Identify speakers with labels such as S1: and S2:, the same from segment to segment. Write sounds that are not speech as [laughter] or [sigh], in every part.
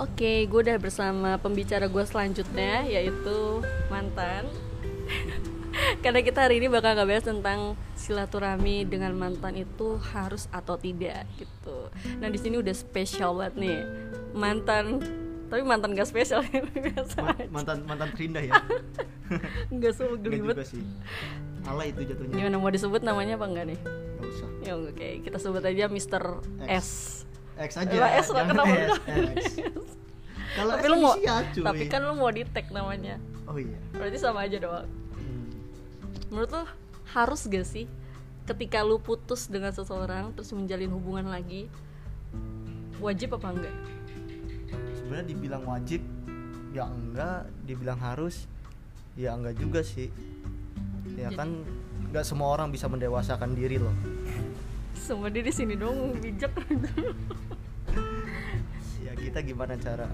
S1: Oke, gue udah bersama pembicara gue selanjutnya yaitu mantan. [laughs] Karena kita hari ini bakal ngebahas tentang silaturahmi dengan mantan itu harus atau tidak gitu. Nah di sini udah spesial banget nih mantan, tapi mantan gak spesial [laughs] biasa.
S2: Ma-
S1: aja.
S2: mantan mantan terindah ya
S1: Nggak so
S2: enggak
S1: geli
S2: juga
S1: banget.
S2: sih ala itu jatuhnya
S1: Gimana mau disebut namanya apa enggak nih?
S2: nggak usah
S1: Ya oke, kita sebut aja Mr.
S2: X.
S1: S.
S2: X aja
S1: Lah, S lah,
S2: jangan
S1: kenapa
S2: S, X. kalau
S1: Tapi
S2: S
S1: lu mau,
S2: inisial, cuy.
S1: tapi kan lu mau di tag namanya.
S2: oh iya
S1: Berarti sama aja doang.
S2: Hmm.
S1: menurut lo harus gak sih ketika lu putus dengan seseorang terus menjalin hubungan lagi wajib apa enggak
S2: sebenarnya dibilang wajib ya enggak dibilang harus ya enggak juga sih
S1: Jadi-
S2: ya kan nggak semua orang bisa mendewasakan diri loh
S1: semua di sini dong bijak
S2: ya kita gimana cara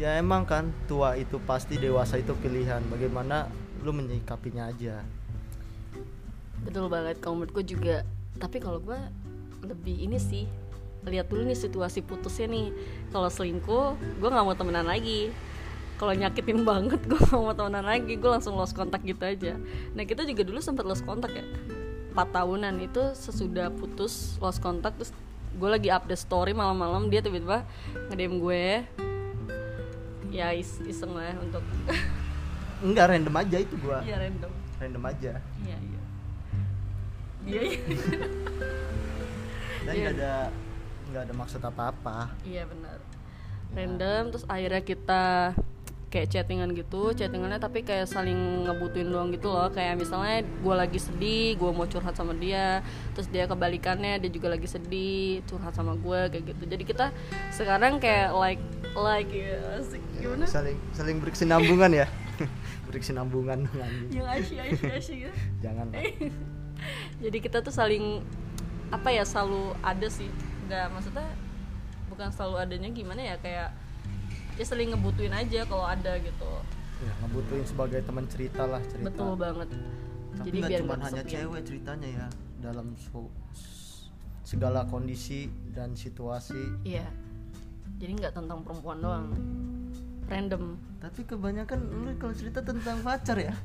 S2: ya emang kan tua itu pasti dewasa itu pilihan bagaimana lu menyikapinya aja
S1: betul banget kalau menurutku juga tapi kalau gue lebih ini sih lihat dulu nih situasi putusnya nih kalau selingkuh gue nggak mau temenan lagi kalau nyakitin [laughs] banget gue nggak mau temenan lagi gue langsung lost kontak gitu aja nah kita juga dulu sempat lost kontak ya 4 tahunan itu sesudah putus lost kontak terus gue lagi update story malam-malam dia tiba-tiba ngedem gue ya is- iseng lah untuk
S2: enggak random aja itu gua
S1: ya random
S2: random aja
S1: iya iya iya iya
S2: dan
S1: Iya.
S2: nggak ada nggak ada maksud apa-apa
S1: Iya benar. Random terus akhirnya kita kayak chattingan gitu, chattingannya tapi kayak saling ngebutuin doang gitu loh. Kayak misalnya gue lagi sedih, gue mau curhat sama dia, terus dia kebalikannya dia juga lagi sedih, curhat sama gue kayak gitu. Jadi kita sekarang kayak like like ya, asik. gimana?
S2: saling saling berkesinambungan ya [laughs] berkesinambungan anjing.
S1: Yang asyik asyik asyik gitu.
S2: jangan lah.
S1: jadi kita tuh saling apa ya selalu ada sih nggak maksudnya bukan selalu adanya gimana ya kayak ya saling ngebutuin aja kalau ada gitu
S2: ya, ngebutuin sebagai teman cerita lah cerita
S1: betul banget
S2: tapi
S1: jadi
S2: nggak
S1: biar
S2: cuma
S1: nggak
S2: hanya
S1: kesepian.
S2: cewek ceritanya ya dalam su- s- segala kondisi dan situasi
S1: iya jadi nggak tentang perempuan doang [laughs] random
S2: tapi kebanyakan lu kalau cerita tentang pacar
S1: [laughs]
S2: ya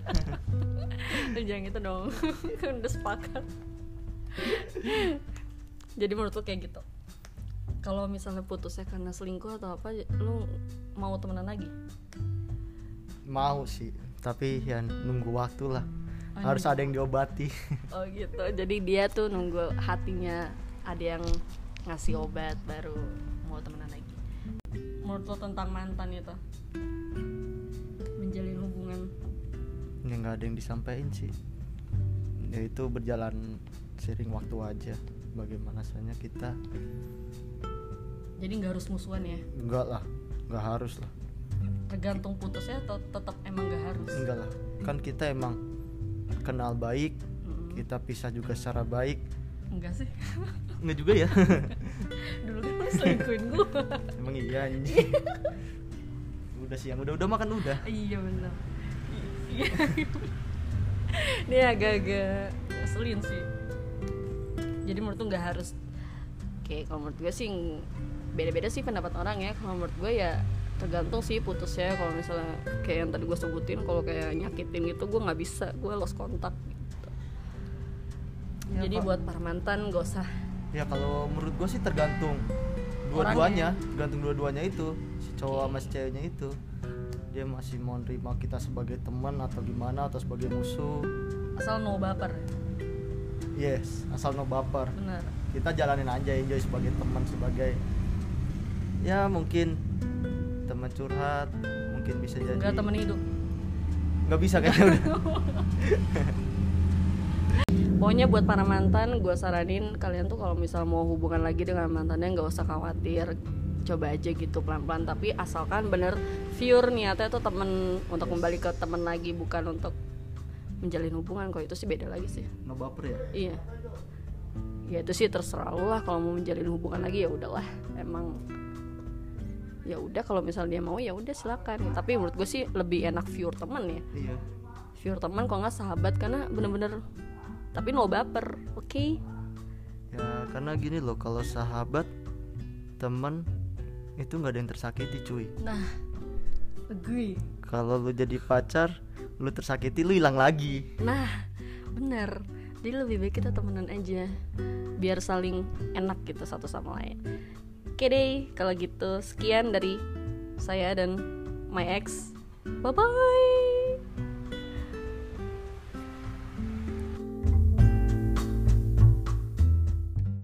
S1: Lu jangan gitu dong [laughs] kan udah sepakat [laughs] jadi menurut lo kayak gitu kalau misalnya putusnya karena selingkuh atau apa lu mau temenan lagi
S2: mau sih tapi ya nunggu waktu lah harus ada yang diobati
S1: [laughs] Oh gitu. Jadi dia tuh nunggu hatinya ada yang ngasih obat baru mau temenan lagi. Menurut lo tentang mantan itu menjalin hubungan
S2: ya nggak ada yang disampaikan sih ya itu berjalan sering waktu aja bagaimana rasanya kita
S1: jadi nggak harus musuhan ya
S2: enggak lah nggak harus lah
S1: tergantung putusnya atau tetap emang nggak harus
S2: enggak lah kan kita emang kenal baik
S1: Mm-mm.
S2: kita pisah juga secara baik
S1: enggak sih [laughs]
S2: enggak juga ya
S1: dulu kan lo selingkuhin gue
S2: [laughs] emang iya [laughs] anjing. udah siang udah udah makan udah
S1: [laughs] iya benar Iya. [laughs] ini agak-agak ngeselin sih jadi menurut tuh nggak harus oke kalau menurut gue sih ng- beda-beda sih pendapat orang ya kalau menurut gue ya tergantung sih putusnya kalau misalnya kayak yang tadi gue sebutin kalau kayak nyakitin gitu gue nggak bisa gue lost kontak gitu.
S2: Ya,
S1: jadi
S2: Pak.
S1: buat para mantan gak usah
S2: ya kalau menurut gue sih tergantung dua-duanya tergantung dua-duanya itu si cowok sama si ceweknya itu dia masih mau nerima kita sebagai teman atau gimana atau sebagai musuh
S1: asal no baper
S2: yes asal no baper
S1: benar
S2: kita jalanin aja enjoy sebagai teman sebagai ya mungkin teman curhat mungkin bisa jadi
S1: nggak temen hidup
S2: nggak bisa kayaknya udah
S1: Pokoknya buat para mantan, gue saranin kalian tuh kalau misal mau hubungan lagi dengan mantannya nggak usah khawatir, coba aja gitu pelan-pelan. Tapi asalkan bener pure niatnya tuh temen untuk kembali ke temen lagi, bukan untuk menjalin hubungan. Kalau itu sih beda lagi sih.
S2: no baper ya
S1: Iya. Ya itu sih terserah lu lah kalau mau menjalin hubungan lagi ya udahlah. Emang ya udah kalau misal dia mau ya udah silakan. Tapi menurut gue sih lebih enak pure temen ya
S2: iya
S1: viewer teman kalau nggak sahabat karena bener-bener tapi no baper oke
S2: ya karena gini loh kalau sahabat teman itu nggak ada yang tersakiti cuy
S1: nah agree
S2: kalau lu jadi pacar lu tersakiti lu hilang lagi
S1: nah bener jadi lebih baik kita temenan aja biar saling enak gitu satu sama lain oke deh kalau gitu sekian dari saya dan my ex bye bye